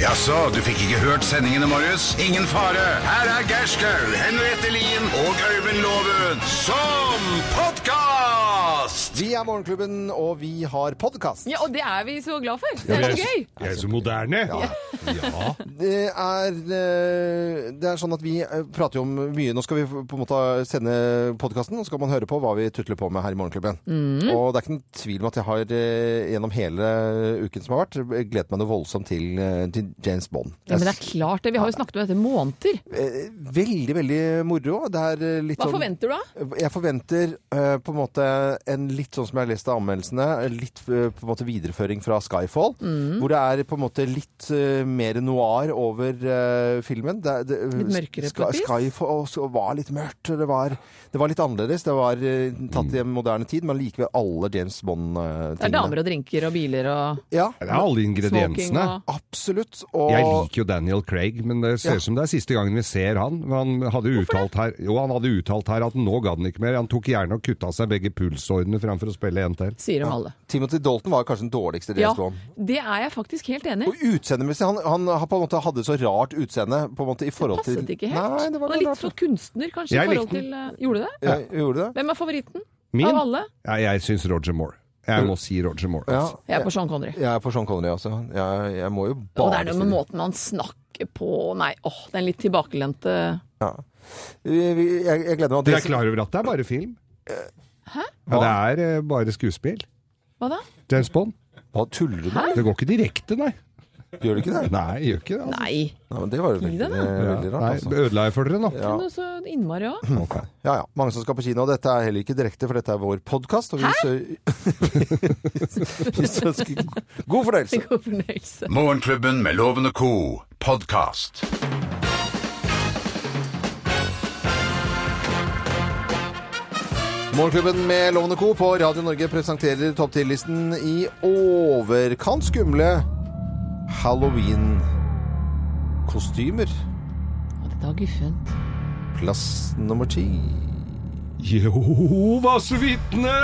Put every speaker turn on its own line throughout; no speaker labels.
Jaså, du fikk ikke hørt sendingene, Marius? Ingen fare. Her er Gerskaug, Henriette Lien og Øyvind Loven som podkast!
Vi er Morgenklubben, og vi har podkast.
Ja, og det er vi så glad for. Det er så gøy.
Jeg er så moderne.
Ja.
Ja.
Det er, eh, det er sånn at vi eh, prater jo om mye. Nå skal vi på en måte sende podkasten, og så skal man høre på hva vi tutler på med her i Morgenklubben.
Mhm.
Og det er ikke noen tvil om at jeg har eh, gjennom hele uken som har vært, gledet meg noe voldsomt til, eh, til James Bond.
Ja, men det er klart det. Vi har jo snakket om dette i måneder.
Eh, Veldig, veldig moro. Det er eh, litt
Hva
sånn
forventer du da?
Jeg forventer eh, på en måte en litt sånn som jeg har lest av anmeldelsene, litt eh, på en måte videreføring fra Skyfall.
Mm.
Hvor det er på en måte litt eh, mer noir over eh, filmen. Det, det,
Litt mørkere på et vis?
Skyfall også var litt mørkt. og Det var, det var litt annerledes. Det var eh, tatt
Mm.
i en moderne tid, men likevel alle James
Det er
Bond-tingene.
damer og drinker og biler og
Ja,
Det er alle
smoking
ingrediensene.
og
absolutt. Og
Jeg liker jo Daniel Craig, men det ser ut
Ja.
som det er siste gangen vi ser han. Han hadde jo uttalt her, jo, han hadde uttalt her at nå gadd han ikke mer. Han tok gjerne og kutta seg begge pulsårene framfor å spille en til.
Sier de alle.
Timothy Dalton var kanskje den dårligste
Ja,
James Bond.
det er jeg faktisk helt enig i.
Og utseendemessig, han, han har på en måte hadde så rart utseende på en måte i forhold til
Passet ikke helt.
Nei, det var noe
Han er litt
rart.
for kunstner, kanskje,
Jeg
i forhold
likte den.
til eh, Gjorde du det?
Ja, gjorde det?
Hvem er favoritten
Min?
av alle?
Ja, jeg syns Roger Moore. Jeg må si Roger Moore.
Ja.
Altså.
Jeg er på Sean Connery.
Jeg er på Sean Connery også. Jeg, jeg må jo
Og
bare
det er noe
si
med måten man snakker på Nei, åh, den litt tilbakelente
Ja. Vi- vi- Jeg, jeg gleder meg.
Dere er klar over at det er bare film?
Eh,
Ja, det er eh, bare skuespill.
Hva da?
James Bond.
Hva tuller du med?
Det går ikke direkte, nei.
Gjør du ikke det?
Nei, gjør ikke det. Altså.
Nei.
Nei, men det var jo
Gi
veldig,
deg, da.
veldig
Ja.
rart.
Nei,
Altså.
ødela jeg for dere nå? Mm,
Ja.
Men Sånn, så innmari òg.
Ok.
Ja, ja. Mange som skal på kino. og Dette er heller ikke direkte, for dette er vår podkast. Og vi, sø vi sønsker god fornøyelse.
God fornøyelse.
Morgenklubben med Loven og co. podkast.
Morgenklubben med Lovende Co. på Radio Norge presenterer topp 10-listen i overkant skumle halloween-kostymer.
Og dette var guffent.
Plass nummer ti.
Jehovas vitne!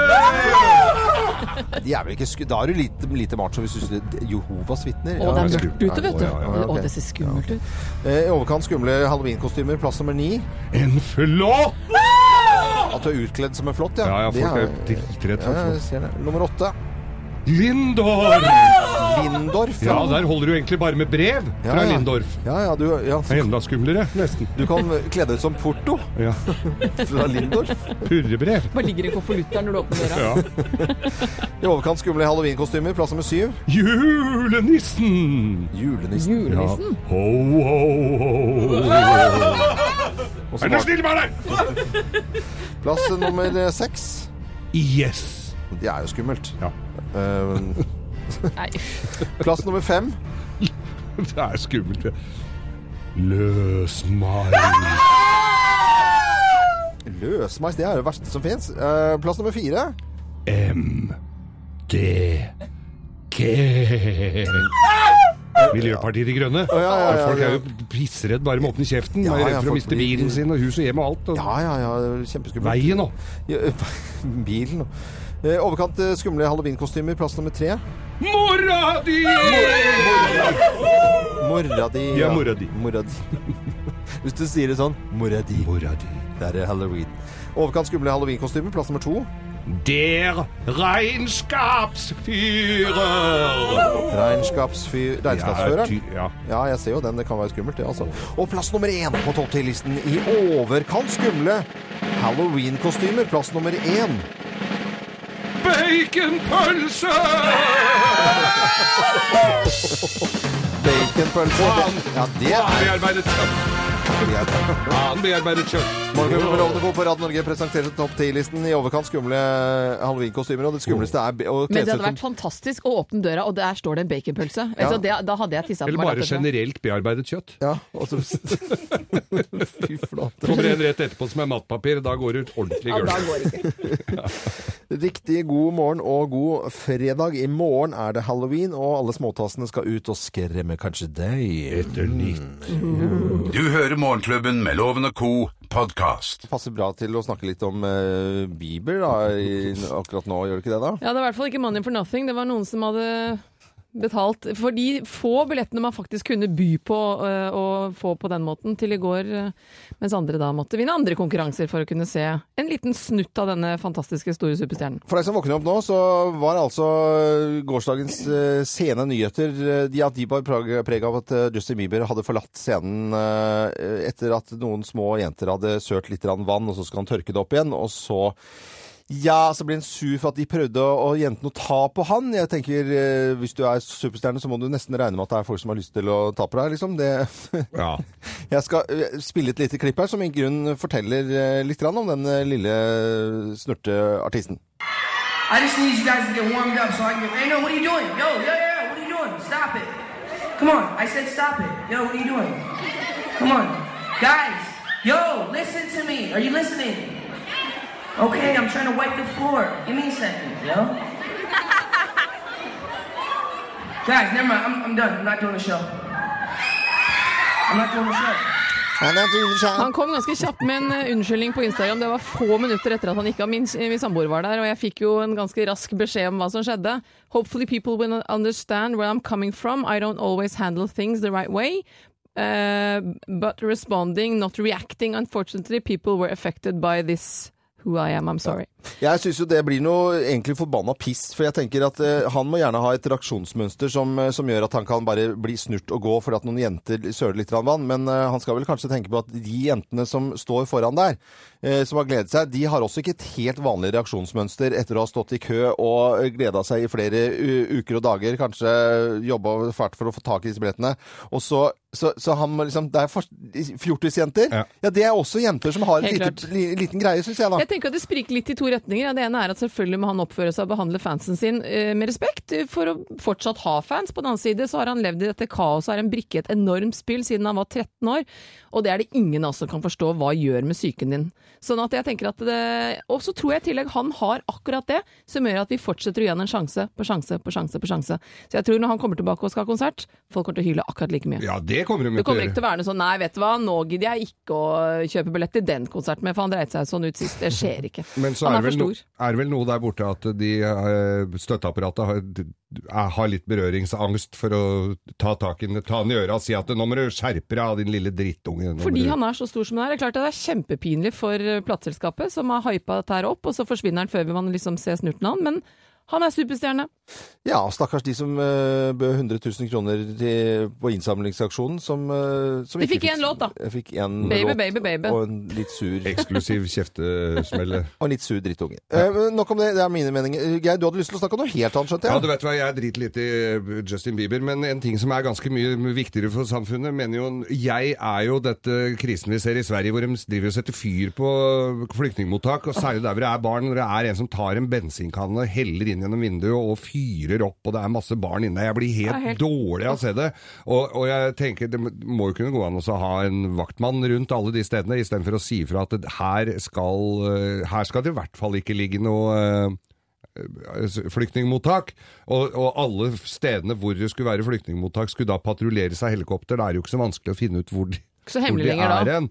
De er vel ikke sku... Da er du lite, lite macho hvis du synes det- Jehovas vitner.
Å, det er
Ja.
mørkt ute, vet du.
Ja, ja, ja,
ja, ok.
Å, det ser skummelt ut.
Eh, I overkant skumle halloweenkostymer. Plass nummer ni.
En flått!
At du er utkledd som en flått, ja.
Ja, ja,
Det
folk er
er-
dritredd
ja,
for
jeg ser det. Nummer åtte.
Lindorf!
Lindorf.
Ja, der holder du egentlig bare med brev
Ja,
fra
ja.
Lindorf.
Ja, ja, du, ja.
Det er Enda skumlere, nesten.
du kan kle deg ut som Porto
Ja.
fra Lindorf.
Purrebrev.
Bare ligger i konvolutter når du åpner døra.
Ja.
I overkant skumle halloweenkostymer. Plass nummer syv.
Julenissen!
Julenissen.
Ja.
Julenissen.
Ho, ho, ho.
Og så
Er du
var-
snill med deg?
plass nummer eh, seks.
Yes!
Det er jo skummelt.
Ja.
Eh,
Nei, uff.
plass nummer fem.
Det er skummelt. det. Løs meg.
Løsmeis. Det er jo det verste som fins. plass nummer fire.
M. D. G. Miljøpartiet De Grønne.
ja, ja, ja,
Folk er
ja.
jo pissredd bare med å åpne kjeften.
Ja,
er
ja,
redd for å
folk
miste
blir-
bilen sin og hus og hjem og alt. Og
Ja, ja, ja. Kjempeskummelt.
Veien òg.
Ja, Bilen og Eh, Overkant eh, skumle halloweenkostymer, plass nummer tre.
Mora di!
Mora di.
Ja, mora di.
Mora di. Hvis du sier det sånn Mora di,
Mora di.
der er halloween. Overkant skumle halloweenkostymer, plass nummer to.
Der regnskapsfyrer!
Regnskapsfy- Regnskapsføreren.
Ja, ty- ja.
Ja, jeg ser jo den. Det kan være skummelt, det, altså. Og plass nummer én på topp 10-listen i overkant skumle halloweenkostymer, plass nummer én.
Baconpølse!
Baconpølse. Det- Ja, det er
Bearbeidet kjøtt.
greit.
Annen bearbeidet kjøtt.
Morgenklubben med Lovende Co. på Radio Norge presenterer topp 10-listen i overkant skumle halloweenkostymer. Og det skumleste er be- å kle
Men det
seg
hadde
ut
vært fantastisk å åpne døra, og der står det en baconpølse. Vet du,
Ja.
det- Da hadde jeg tissa på
Eller
meg. rett
bare
og slett.
generelt bearbeidet kjøtt.
Ja, og så Fy flate.
Kommer det en rett etterpå som er matpapir, da går det ut ordentlig
Ja, da
gulv.
går det ikke.
Riktig god morgen og god fredag. I morgen er det halloween, og alle småtassene skal ut og skremme kanskje deg. Mm.
Etter nytt.
Du hører Morgenklubben med Loven og co. podkast.
Passer bra til å snakke litt om eh, Bieber da, i, akkurat nå, gjør det ikke det da?
Ja, det er i hvert fall ikke Money for nothing. Det var noen som hadde betalt for de få billettene man faktisk kunne by på eh, og få på den måten til i går, eh, mens andre da måtte vinne andre konkurranser for å kunne se en liten snutt av denne fantastiske store superstjernen.
For deg som våkner opp nå, så var altså gårsdagens eh, sene nyheter eh, de at de bar prag- preg av at eh, Justin Bieber hadde forlatt scenen eh, etter at noen små jenter hadde sølt litt grann vann, og så skal han tørke det opp igjen, og så ja, så ble han sur for at de prøvde å, å jentene å ta på han. Jeg tenker, eh, Hvis du er superstjerne, så må du nesten regne med at det er folk som har lyst til å ta på deg. liksom. Det,
Ja.
Jeg skal eh, spille et lite klipp her som i grunnen forteller eh, litt grann om den eh, lille eh, snurte artisten.
I just need you guys to get warmed up so I can get. Hey, no, what are you doing? Yo, yo, yo, yo, what are you doing? Stop it. Come on. I said stop it. Yo, what are you doing? Come on. Guys, yo, listen to me. Are you listening? Okay, I'm trying to wipe the floor. Give me a second, yo. Guys, never mind. I'm, I'm done. I'm not doing the show. I'm not doing the show.
Han kom ganske kjapt med en eh, unnskyldning på Instagram. Det var få minutter etter at han gikk av. Min, eh, min samboer var der, og jeg fikk jo en ganske rask beskjed om hva som skjedde. Hopefully people will understand where I'm coming from. I don't always handle things the right way. Eh, but responding, not reacting. Unfortunately, people were affected by this. Who I am, I'm sorry.
Jeg syns jo det blir noe egentlig forbanna piss, for jeg tenker at eh, han må gjerne ha et reaksjonsmønster som, eh, som gjør at han kan bare bli snurt og gå fordi at noen jenter søler litt grann vann, men eh, han skal vel kanskje tenke på at de jentene som står foran der, eh, som har gledet seg, de har også ikke et helt vanlig reaksjonsmønster etter å ha stått i kø og gleda seg i flere u uker og dager, kanskje jobba fælt for å få tak i disse billettene, og så så, så han må liksom, det er for- fjortisjenter. Ja.
Ja.
det er også jenter som har en
Helt
lite, li, liten greie, syns jeg, da.
Jeg tenker at Det spriker litt i to retninger. Ja, Det ene er at selvfølgelig må han oppføre seg og behandle fansen sin eh, med respekt eh, for å fortsatt ha fans. På den annen side så har han levd i dette kaoset og er en brikke i et enormt spill siden han var 13 år. Og det er det ingen av oss som kan forstå hva gjør med psyken din. Sånn at jeg tenker at det, Og så tror jeg i tillegg han har akkurat det som gjør at vi fortsetter å gi han en sjanse på sjanse på sjanse på sjanse. Så jeg tror når han kommer tilbake og skal ha konsert, folk kommer til å hyle akkurat like mye.
ja, det kommer de
Det
til å
kommer ikke
gjøre.
til å være noe sånn Nei, vet du hva, nå gidder jeg ikke å kjøpe billett til den konserten mer, for han dreit seg sånn ut sist. Det skjer ikke.
Men så
han
er
er
det vel,
for
no,
stor.
er det vel noe der borte at de eh, støtteapparatet har, er- har litt berøringsangst for å ta tak i den, ta den i øra og si at nå må du skjerpe deg av din lille drittunge. Nå må
Fordi
du-
han er så stor som han er. Det er klart at det er kjempepinlig for eh, plateselskapet, som har hypa dette her opp, og så forsvinner han før man liksom ser snurten av han. Men han er superstjerne.
Ja, stakkars de som eh, bød 100 000 kroner til, på innsamlingsaksjonen, som, eh, som
De fikk én låt, da.
Jeg fikk én
Baby,
låt
baby, baby.
og en litt sur,
Eksklusiv kjeftesmelle.
og en litt sur drittunge. Eh, men nok om det, det er mine meninger. Eh, Geir, du hadde lyst til å snakke om noe helt annet, skjønte
Ja, du
jeg?
vet hva, jeg driter litt i eh, Justin Bieber, men en ting som er ganske mye viktigere for samfunnet, mener jo Jeg er jo dette krisen vi ser i Sverige, hvor de driver og setter fyr på eh, flyktningmottak, og særlig der hvor det er barn, når det er en som tar en bensinkanne og heller inn gjennom vinduet og fyrer opp, og det er masse barn inne. Jeg blir helt,
Ja, helt-
dårlig av å se det. Og, og jeg tenker, det må jo kunne gå an også å ha en vaktmann rundt alle de stedene, istedenfor å si fra at det- her skal, eh, her skal det i hvert fall ikke ligge noe eh, flyktningmottak, og, og alle stedene hvor det skulle være flyktningmottak, skulle da patruljere seg helikopter. Da er det jo ikke så vanskelig å finne ut hvor de
Ikke så
hvor
hemmelig
de
lenger
er
da.
hen.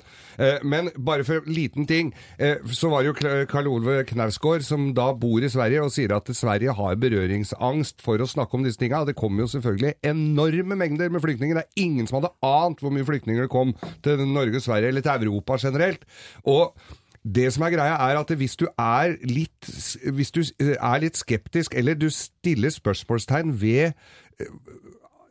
Eh, Men bare for en liten ting, eh, så var det jo Kla- Karl Olve Knausgård, som da bor i Sverige, og sier at Sverige har berøringsangst for å snakke om disse tinga. Det kommer jo selvfølgelig enorme mengder med flyktninger. Det er ingen som hadde ant hvor mye flyktninger det kom til Norge, Sverige eller til Europa generelt. Og det som er greia er at hvis du er litt, hvis du er litt skeptisk, eller du stiller spørsmålstegn ved eh,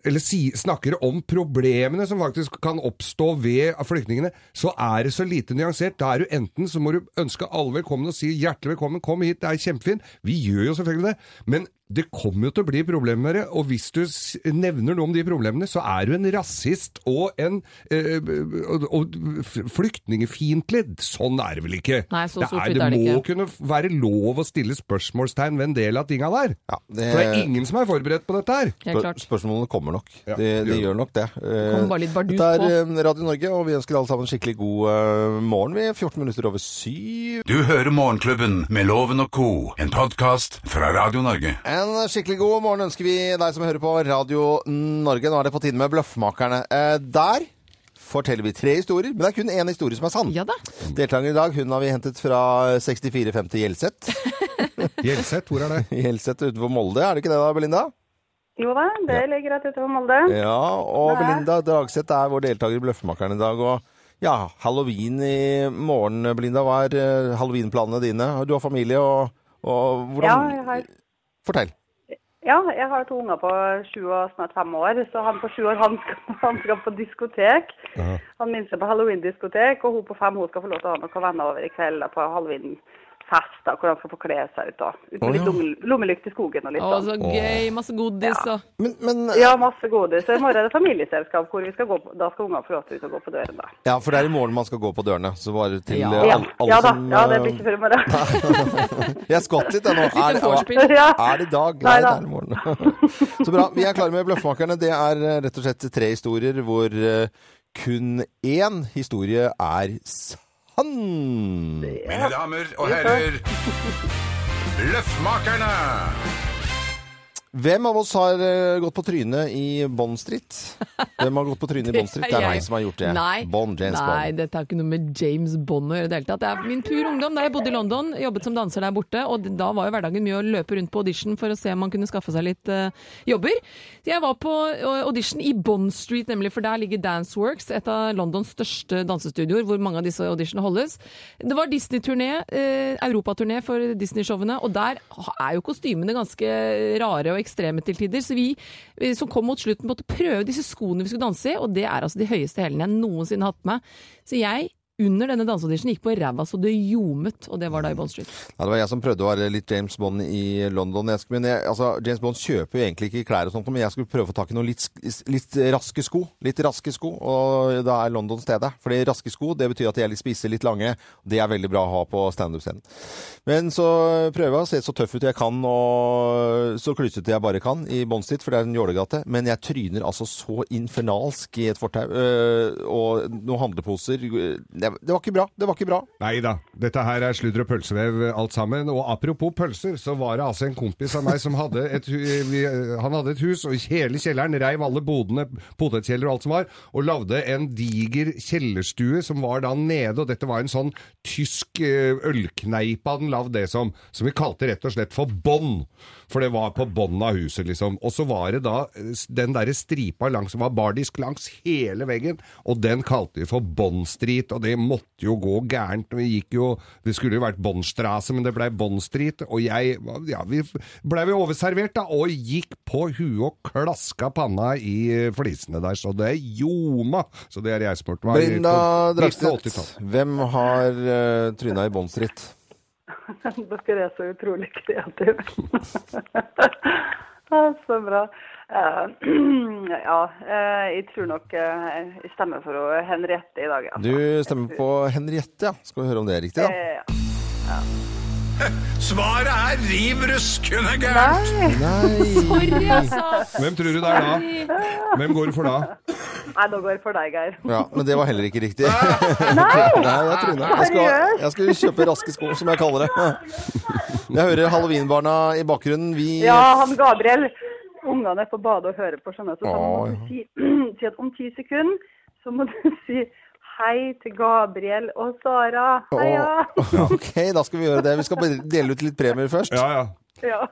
eller si, snakker om problemene som faktisk kan oppstå ved flyktningene, så er det så lite nyansert. Da er du enten så må du ønske alle velkommen og si hjertelig velkommen, kom hit, det er kjempefint. Vi gjør jo selvfølgelig det, men det kommer jo til å bli problemer, og hvis du s- nevner noe om de problemene, så er du en rasist og en eh, og, og f- flyktningfiendtlig. Sånn er det vel ikke?
Nei, så
det, er,
sort-hvitt
det
er det
må
ikke.
kunne være lov å stille spørsmålstegn ved en del av tinga der.
det-
For det er ingen som er forberedt på dette her.
Helt klart.
spørsmålene kommer nok.
Ja,
det, det
gjør
gjør nok det. Eh,
kommer bare litt bardus
Dette er eh, Radio Norge, og vi ønsker alle sammen skikkelig god eh, morgen. Vi er 14 minutter over syv.
Du hører Morgenklubben med Loven og Co., en podkast fra Radio Norge.
En skikkelig god morgen ønsker vi deg som hører på Radio Norge. Nå er det på tide med Bløffmakerne. Eh, Der forteller vi tre historier, men det er kun én historie som er sann.
Ja da.
Deltaker i dag, hun har vi hentet fra 6450 Hjelset.
Gjelseth, hvor er det?
Hjelset utenfor Molde, er det ikke det da, Belinda?
Jo da, det ligger rett utover Molde.
Ja, og
Nei.
Belinda Dragseth er vår deltaker i Bløffmakeren i dag. og ja, halloween i morgen, Belinda. Hva er eh, halloweenplanene dine? Du har familie, og, og
Ja,
hvordan
jeg har,
Fortell.
ja, jeg har to unger på sju og snart fem år, så han på sju år han skal, han skal på diskotek. Han minste på halloween-diskotek, og hun på fem hun skal få lov til å ha noen venner over i kveld da, på halloween-fest, da, hvor han skal få kle seg ut. da. Ut
Å,
med
ja.
litt lomme- lommelykt i skogen og litt
Å,
sånn.
så gøy. Masse godis og
Men, eh, men
Ja, masse godis. Og I morgen er det familieselskap hvor vi skal gå på, da skal ungene få lov til ut og gå på døren, da.
Ja, for det er i morgen man skal gå på dørene. Så bare til
Ja.
eh,
Ja,
alle, alle
ja da.
som
Ja, det
eh,
blir ikke før i morgen.
Jeg skvatt litt, jeg nå. Er,
Litt
er,
vorspiel.
Ja.
det i dag? Nei,
Nei
det
da.
er i morgen. Så bra. Vi er klare med Bløffmakerne. Det er eh, rett og slett tre historier hvor eh, kun én historie er sann.
Mine damer og herrer, Løffmakerne!
Hvem av oss har eh, gått på trynet i Bond Street? Hvem har gått på trynet i Bond Street? Det er meg som har gjort det.
Nei,
Bond, James
nei
Bond.
dette har ikke noe med James Bond å gjøre i det hele tatt. Det er min pur ungdom. Da jeg bodde i London, jobbet som danser der borte, og da var jo hverdagen mye å løpe rundt på audition for å se om man kunne skaffe seg litt eh, jobber. Så jeg var på eh, audition i Bond Street, nemlig, for der ligger Danceworks, et av Londons største dansestudioer, hvor mange av disse auditionene holdes. Det var Disney-turné, eh, europaturné for Disney-showene, og der er jo kostymene ganske eh, rare og ekstreme til tider, så vi eh, som kom mot slutten måtte prøve disse skoene vi skulle danse i, og det er altså de høyeste hælene jeg noensinne har hatt på meg. Så jeg, under denne danseauditionen, gikk på ræva så det ljomet, og det var da i Bond Street.
Nei, det var jeg som prøvde å være litt James Bond i London. Jeg skulle, men jeg, altså, James Bond kjøper jo egentlig ikke klær og sånt, men jeg skulle prøve å få tak i noen litt, sk- litt raske sko. Litt raske sko, og da er London stedet. Fordi raske sko, det betyr at de er litt spisse, litt lange. Det er veldig bra å ha på standup-scenen. Men så prøver jeg å se så tøff ut jeg kan, og så klysete jeg bare kan i Bond Street, for det er en jålegate. Men jeg tryner altså så infernalsk i et fortau, øh, og noen handleposer. Det, det var ikke bra, det var ikke bra.
Nei da, dette her er sludder og pølsevev eh, alt sammen. Og apropos pølser, så var det altså en kompis av meg som hadde et, hu- eh, vi- eh, han hadde et hus, og hele kjelleren reiv alle bodene, potetkjeller og alt som var, og lagde en diger kjellerstue som var da nede, og dette var en sånn tysk eh, ølkneipe han lagde det som, som vi kalte rett og slett for bånd. For det var på bånd av huset, liksom. Og så var det da eh, s- den derre stripa langs, som var bardisk langs hele veggen, og den kalte vi for Bond Street, og det måtte jo gå gærent. og Vi gikk jo Det skulle jo vært Bondstrasse, men det blei Bond Street, og jeg Ja, vi blei jo overservert, da, og gikk på huet og klaska panna i eh, flisene der, så det ljoma. Så det er jeg spurt meg
Brinda Dragstedt,
Dragstedt.
hvem har uh, tryna i Bond Street?
Dere er så utrolig kreative. Ja, så bra. Eh, ja, eh, jeg tror nok eh, jeg stemmer for å Henriette i dag. ja.
Du stemmer på Henriette, ja. Skal vi høre om det er riktig, da?
Eh,
Svaret er riv ruskende gærent!
Nei.
Nei.
Sorry, altså!
Hvem tror du det er da? Hvem går du for da?
Nei, nå går jeg for deg, Geir.
Ja, men det var heller ikke riktig. Nei, jeg tryna. Jeg skal, jeg skal kjøpe raske sko, som jeg kaller det. Jeg hører halloweenbarna i bakgrunnen. Vi
Ja, han Gabriel. Ungene er på badet og hører på, skjønner du. Så da må
Å,
du si, si at om ti sekunder så må du si hei til Gabriel og Sara. Heia!
Ok, da skal vi gjøre det. Vi skal bare dele ut litt premier først.
Ja, ja.
Ja.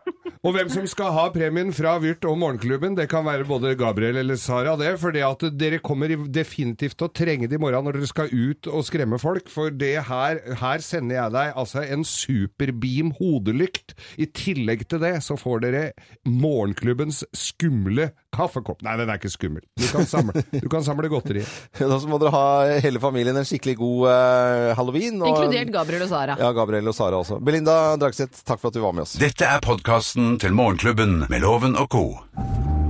Og hvem som skal ha premien fra Vyrt og Morgenklubben, det kan være både Gabriel eller Sara, det. For at dere kommer i- definitivt til å trenge det i morgen når dere skal ut og skremme folk. For det her, her sender jeg deg altså en superbeam hodelykt. I tillegg til det så får dere Morgenklubbens skumle kaffekopp. Nei, den er ikke skummel. Du kan samle, du kan samle godteri.
Da så må dere ha hele familien en skikkelig god eh, halloween. og-
Inkludert Gabriel og Sara.
Ja, Gabriel og Sara også. Belinda Dragseth, takk for at du var med oss.
Dette er podkasten til Morgenklubben med Loven og co.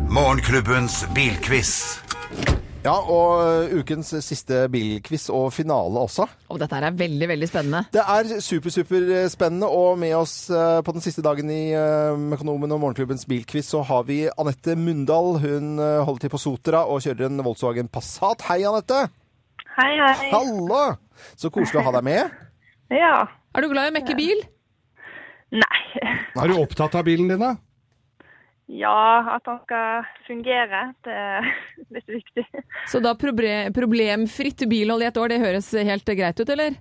Morgenklubbens bilquiz.
Ja, og ukens siste bilquiz og finale også.
Og dette her er veldig, veldig spennende.
Det er super, super eh, spennende, og med oss eh, på den siste dagen i eh, Økonomen og Morgenklubbens bilquiz så har vi Anette Mundal. Hun eh, holder til på Sotra og kjører en Volkswagen Passat. Hei, Anette!
Hei, hei.
Hallo! Så koselig å ha deg med.
Ja.
Er du glad i å mekke bil?
Nei.
Er du opptatt av bilen din, da?
Ja, at han skal fungere, det er litt viktig.
Så da proble problemfritt bilhold i et år, det høres helt greit ut, eller?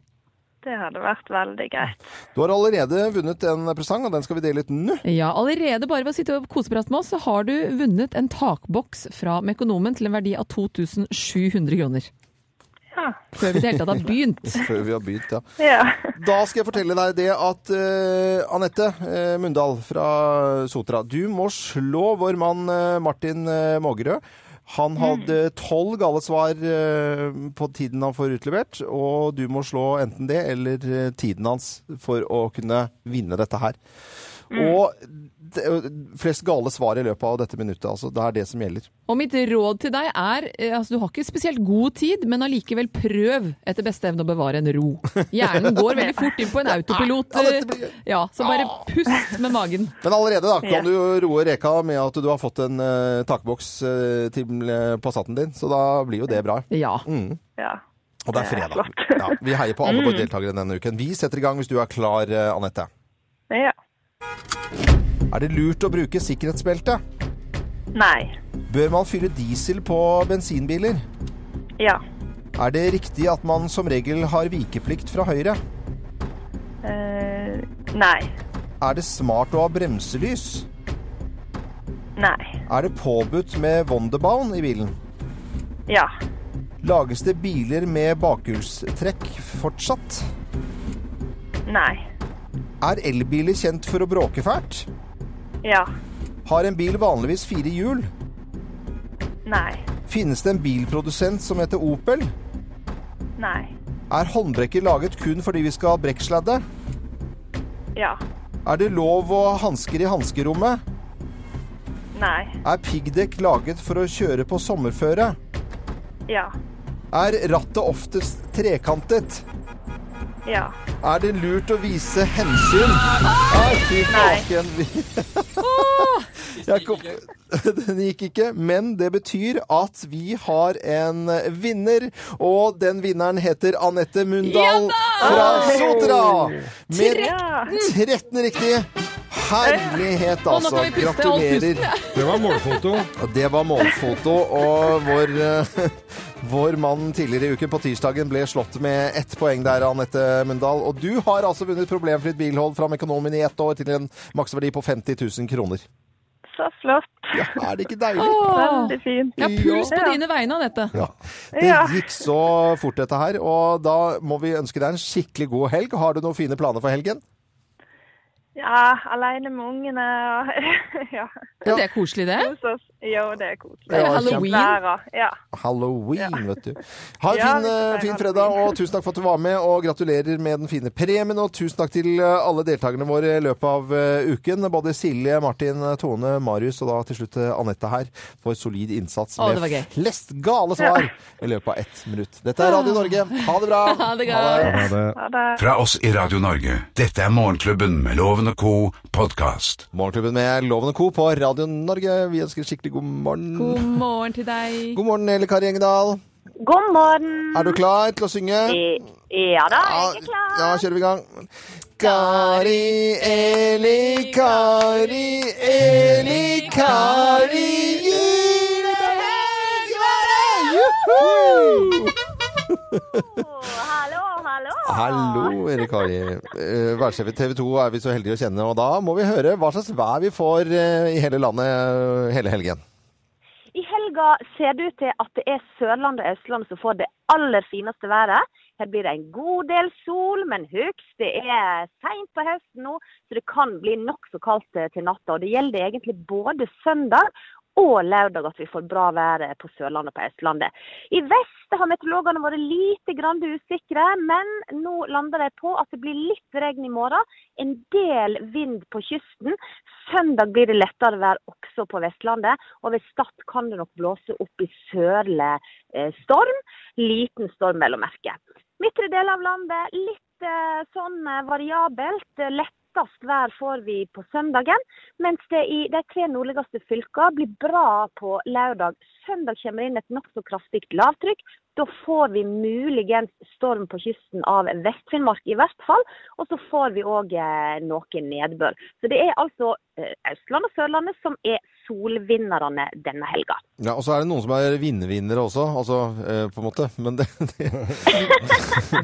Det hadde vært veldig greit.
Du har allerede vunnet en presang, og den skal vi dele ut nå.
Ja, allerede bare ved å sitte og koseprat med oss, så har du vunnet en takboks fra Mekonomen til en verdi av 2700 kroner.
Ja.
Før vi i det hele tatt har begynt.
Før vi har begynt, ja.
ja.
Da skal jeg fortelle deg det at eh, Anette eh, Mundal fra Sotra, du må slå vår mann eh, Martin eh, Mågerø. Han hadde tolv gale svar eh, på tiden han får utlevert, og du må slå enten det eller eh, tiden hans for å kunne vinne dette her. Og det- flest gale svar i løpet av dette minuttet, altså. Det er det som gjelder.
Og mitt råd til deg er, eh, altså du har ikke spesielt god tid, men allikevel prøv etter beste evne å bevare en ro. Hjernen går veldig fort inn på en autopilot.
Ja,
eh,
dette
altså,
blir-
Ja, så bare pust med magen.
Men allerede da kan
Ja.
du jo roe reka med at du har fått en eh, takboks eh, til eh, Passaten din, så da blir jo det bra. Mm.
Ja.
ja.
Og det er
Det er
fredag.
flott.
Ja, vi heier på alle våre deltakere denne uken. Vi setter i gang hvis du er klar, eh, Anette.
ja.
Er det lurt å bruke sikkerhetsbelte?
Nei.
Bør man fylle diesel på bensinbiler?
Ja.
Er det riktig at man som regel har vikeplikt fra høyre?
Eh, nei.
Er det smart å ha bremselys?
Nei.
Er det påbudt med Wonderbound i bilen?
Ja.
Lages det biler med bakhjulstrekk fortsatt?
Nei.
Er elbiler kjent for å bråke fælt?
Ja.
Har en bil vanligvis fire hjul?
Nei.
Finnes det en bilprodusent som heter Opel?
Nei.
Er håndbrekker laget kun fordi vi skal brekksladde?
Ja.
Er det lov å ha hansker i hanskerommet?
Nei.
Er piggdekk laget for å kjøre på sommerføre?
Ja.
Er rattet oftest trekantet?
Ja.
Er det lurt å vise hensyn? Nei, fy
Nei.
faken. Vi- Jeg kom- Den gikk ikke, men det betyr at vi har en vinner. Og den vinneren heter Anette Mundal fra Sotra. Med
Ja.
13 riktig. Herlighet,
Og nå
altså.
kan vi puste og holde pusten.
Gratulerer.
Det var målfoto.
Og Det var målfoto, og vår, eh, vår mann tidligere i uken på tirsdagen ble slått med ett poeng der, Anette Mundal. Og du har altså vunnet problemfritt bilhold fra Mekonomen i ett år til en maksverdi på 50 000 kroner.
Så flott.
Er det ikke deilig?
Åh,
Veldig fint.
jeg har puls på
Ja.
dine vegne, Anette.
Ja. Det
Ja.
gikk så fort, dette her. Og da må vi ønske deg en skikkelig god helg. Har du noen fine planer for helgen?
Ja, aleine med ungene og Ja.
Det er koselig, det.
Hos oss. Jo, det er koselig.
Ja,
Halloween.
Lærer. Ja.
Halloween, vet du. Ha en
Ja,
fin, eh,
vi skal feire
fin fredag,
halloween.
og tusen takk for at du var med. Og gratulerer med den fine premien, og tusen takk til eh, alle deltakerne våre i løpet av eh, uken. Både Silje, Martin, eh, Tone, Marius og da til slutt eh, Anette her for solid innsats
Å, det var
med
gøy.
flest gale svar i løpet av ett minutt. Dette er Radio Norge. Ha det bra!
Ha det godt.
Ha det.
Ha det.
Fra oss i Radio Norge. Dette er Morgenklubben med Loven og co. podkast.
Morgenklubben med Loven og Co. på Radio Norge. Vi ønsker skikkelig god morgen.
God morgen til deg.
God morgen, Eli Kari Engedal.
God morgen.
Er du klar til å synge?
Ja da, jeg er
Ja,
klar.
ja, kjører vi i gang. Kari, Eli, Kari, Eli, Kari, gir deg helg! Juhu!
Hallo, hallo.
Hallo, Eli Kari. Eh, Værsjef i TV 2 er vi så heldige å kjenne, og da må vi høre hva slags vær vi får eh, i hele landet eh, hele helgen.
I helga ser det ut til at det er Sørlandet og Østlandet som får det aller fineste været. Her blir det en god del sol, men høgst det er seint på høsten nå, så det kan bli nokså kaldt eh, til natta. Og det gjelder egentlig både søndag og lørdag at vi får bra vær eh, på Sørlandet og på Østlandet. I vest har meteorologene vært lite grann usikre, men nå lander de på at det blir litt regn i morgen. En del vind på kysten. Søndag blir det lettere vær også på Vestlandet, og ved Stad kan det nok blåse opp i sørlig eh, storm. Liten storm, vel å merke. Midtre del av landet litt eh, sånn eh, variabelt. Eh, Lettest vær får vi på søndagen, mens det i de tre nordligste fylkene blir bra på lørdag. Søndag kommer inn et nokså kraftig lavtrykk. Da får vi muligens storm på kysten av Vest-Finnmark i hvert fall. Og så får vi òg noe nedbør. Så det er altså eh, Østlandet og Sørlandet som er solvinnerne denne helga.
Ja, og så er det noen som er vinn-vinnere også, altså eh, på en måte. Men det, det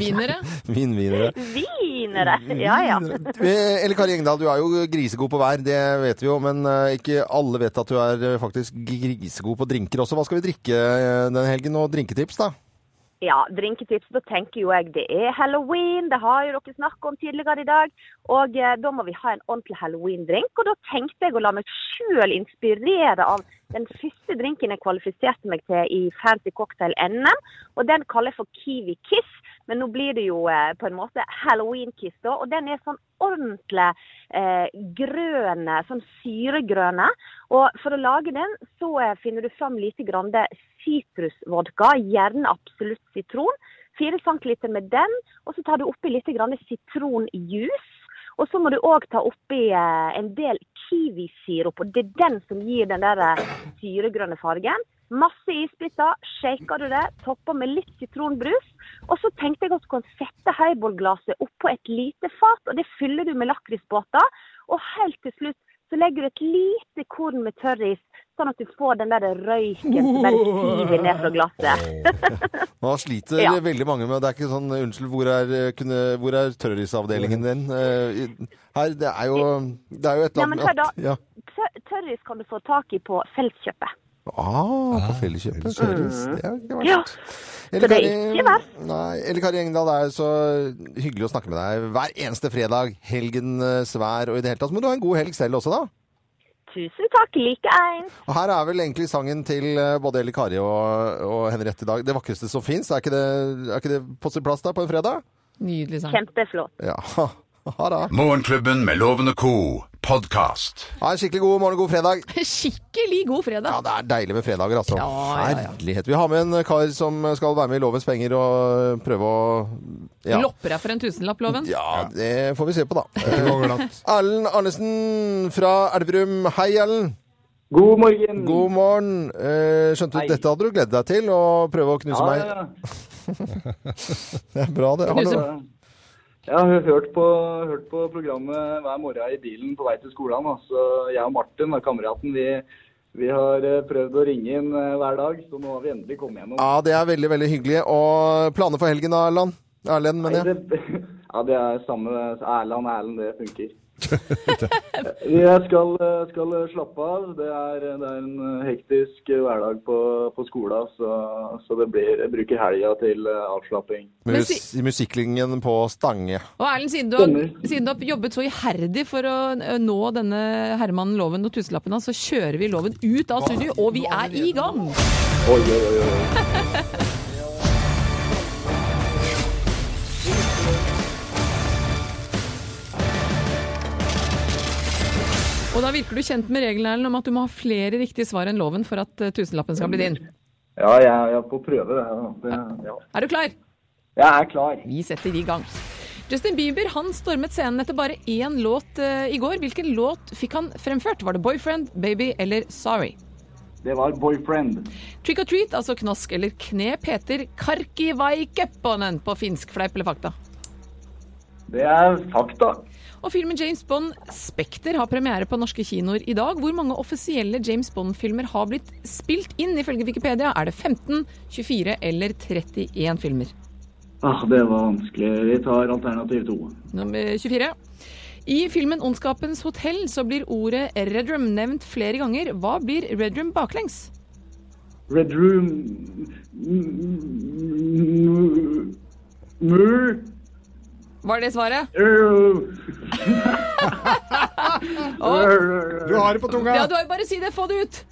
Vinnere.
vinn-vinnere.
Vinere! Ja, ja.
Eh, Elle Kari Engdahl, du er jo grisegod på vær, det vet vi jo. Men eh, ikke alle vet at du er eh, faktisk grisegod på drinker også. Hva skal vi drikke eh, den helgen, og drinketips, da?
Ja, drinketips. Da tenker jo jeg det er halloween. Det har jo dere snakket om tidligere i dag. Og eh, da må vi ha en ordentlig halloween-drink. Og da tenkte jeg å la meg sjøl inspirere av den første drinken jeg kvalifiserte meg til i Fancy Cocktail NM. Og den kaller jeg for Kiwi Kiss. Men nå blir det jo eh, på en måte halloween-kiss, da. Og den er sånn ordentlig eh, grønne, sånn syregrønne. Og for å lage den, så eh, finner du fram lite grann det sitrusvodka, gjerne absolutt sitron. 4 centiliter med den, og så tar du oppi litt grann sitronjuice. Og så må du òg ta oppi eh, en del kiwisirup, og det er den som gir den der eh, syregrønne fargen. Masse isbiter, shaker du det, topper med litt sitronbrus. Og så tenkte jeg at du kan sette highballglasset oppå et lite fat, og det fyller du med lakrisbåter. Og helt til slutt så legger du et lite korn med tørris, sånn at du får den der røyken som bare siver ned fra glasset.
Nå sliter
Ja.
veldig mange med Det er ikke sånn Unnskyld, hvor er, eh, kunne, hvor er terrorisavdelingen din? Eh, i- Her, det er jo Det er jo et
Ja,
eller
men
annet
hør da.
at- ja.
Tør- Tørris kan du få tak i på Feltkjøpet.
Ah, på Felleskjøpet. Service. Det er ikke verst.
Ja.
Eller
det er
Kari-
ikke verst.
Nei, Elle Kari Engdahl, det er jo så hyggelig å snakke med deg hver eneste fredag. Helgen eh, svær, og i det hele tatt så må du ha en god helg selv også, da.
Tusen takk, like eins.
Og her er vel egentlig sangen til eh, både Elle Kari og, og Henriette i dag. Det vakreste som fins. Er, ikke det- er ikke det på sin plass der på en fredag?
Nydelig sang.
Kjempeflott.
Ja. Ha det.
Morgenklubben med Loven og Co. Podcast.
Ha en skikkelig god morgen og god fredag.
Skikkelig god fredag.
Ja, det er deilig med fredager, altså.
Ja, ja, ja.
Herlighet. Vi har med en kar som skal være med i Lovens penger og prøve å ja.
Lopper deg for en tusenlapp, Loven.
Ja, det får vi se på, da.
Det går glatt.
Erlend Arnesen fra Elverum. Hei, Erlend.
God morgen.
God morgen. Eh, Skjønte du
Hei.
dette hadde du gledet deg til, å prøve å knuse
ja,
meg?
ja.
Det er bra, det. Har du...
Knuse-
liksom- Jeg har hørt på, hørt på programmet hver morgen i bilen på vei til skolen. da. Så jeg og Martin, da, kameraten, vi, vi har eh, prøvd å ringe inn eh, hver dag. Så nå har vi endelig kommet gjennom.
Ja, det er veldig, veldig hyggelig. Og planer for helgen, da, Erland? Erlend, mener jeg.
det, ja, det er samme Erland, Erlend, det funker. Jeg skal, eh, skal slappe av. Det er, det er en eh, hektisk eh, hverdag på, på skolen, så, så det blir, jeg bruker helga til eh, avslapping.
Men
Mus musikklinjen på Stange.
Og Erlend, siden du, har,
Stemmer.
siden du har jobbet så iherdig for å eh, nå denne herremannen Loven og tusenlappen hans, så kjører vi Loven ut av studio, og vi er i gang!
Oi, oi, oi. oi.
Og da virker du kjent med reglene Erlend, om at du må ha flere riktige svar enn Loven for at eh, tusenlappen skal bli din.
Ja, jeg, jeg får prøve det. ja. det ja.
Er du klar?
Jeg er klar.
Vi setter i gang. Justin Bieber han stormet scenen etter bare én låt eh, i går. Hvilken låt fikk han fremført? Var det 'Boyfriend', 'Baby' eller 'Sorry'?
Det var boyfriend.
Trick or treat, altså knask eller knep, heter karkivaikepponen på finsk. Fleip eller fakta?
Det er fakta.
Og filmen James Bond Spekter har premiere på norske kinoer i dag. Hvor mange offisielle James Bond-filmer har blitt spilt inn, ifølge Wikipedia? Er det 15, 24 eller 31 filmer?
Ah, det var vanskelig. Vi tar alternativ to.
Nummer 24. I filmen 'Ondskapens hotell' så blir ordet Redrum nevnt flere ganger. Hva blir Redrum baklengs?
Red room M- Mur
Var det svaret?
Du har det på tunga! Eh,
Ja, du har jo bare si det! Få det ut!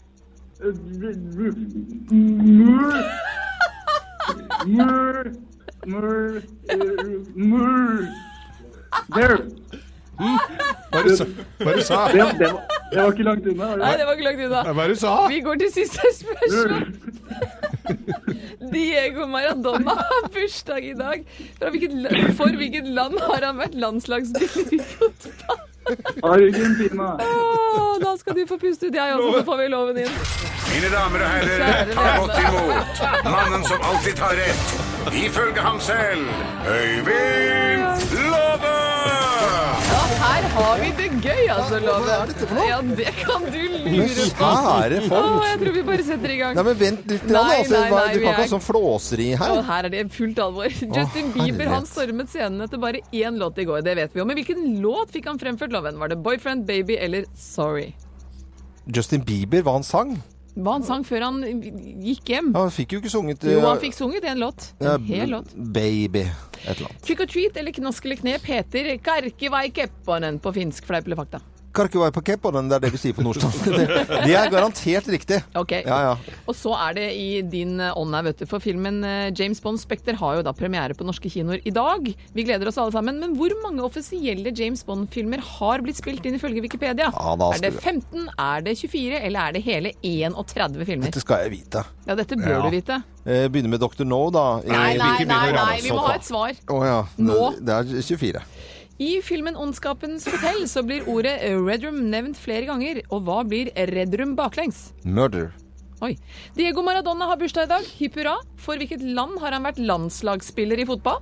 Mur Mur Mur Mur There.
Hva du sa? Hva du sa?
Det, det, var, det var ikke langt unna.
Nei, det var ikke langt unna.
Hva du sa?
Vi går til siste spørsmål. Diego Maradona har bursdag i dag. Fra hvilket, la- for hvilket land har han vært landslagsspiller i fotball?
Argentina.
Å, Da skal du få puste ut, jeg også, så får vi loven inn.
Mine damer og herrer, ta godt imot mannen som alltid tar rett, ifølge ham selv, Øyvind Låve!
Ja, her har vi det gøy, altså, Loven.
hva er dette for noe?
Ja, det kan du
Men
lure på.
Kjære
Å,
folk!
jeg tror vi bare setter i gang.
Nei, men vent litt.
Nei,
grann, altså,
nei,
Hva-
nei,
du kan
vi
ikke
er-
ha sånn flåseri her.
Og her er det fullt alvor. Justin Bieber han
herlighet.
stormet scenen etter bare én låt i går, det vet vi jo. Men hvilken låt fikk han fremført, Loven? Var det 'Boyfriend', 'Baby' eller 'Sorry'?
Justin Bieber, hva han sang?
Hva han sang før han gikk hjem?
Ja, han fikk jo ikke sunget
Mm. Jo,
eh,
han fikk sunget en låt.
eh,
En hel låt.
Baby. Et eller annet.
Trick or treat eller knask eller knep heter Karkivai Keppanen på finsk, fleip eller fakta.
Karkivai på E kepponen, det er det vi sier på Nordstrand. det, det er garantert riktig.
Ok.
Ja, ja.
Og så er det i din eh, ånd her, vet du. For filmen eh, James Bond Spekter har jo da premiere på norske kinoer i dag. Vi gleder oss alle sammen. Men hvor mange offisielle James Bond-filmer har blitt spilt inn ifølge Wikipedia?
Ja, da
er det
skulle-
15, er det 24, eller er det hele 31 filmer?
Dette skal jeg vite.
Ja, dette bør
Ja.
du vite.
Eh, Begynner med Dr. No, da. Eh, i-
Nei, nei,
hvilke
nei,
begynner
nei,
ramse
vi må
opp,
ha
da?
et svar.
sånn. Å ja.
Nå.
Det er 24.
I filmen Ondskapens hotell så blir ordet Red Room nevnt flere ganger. Og hva blir Red Room baklengs?
Murder.
Oi. Diego Maradona har bursdag i dag. Hipp hurra. For hvilket land har han vært landslagsspiller i fotball?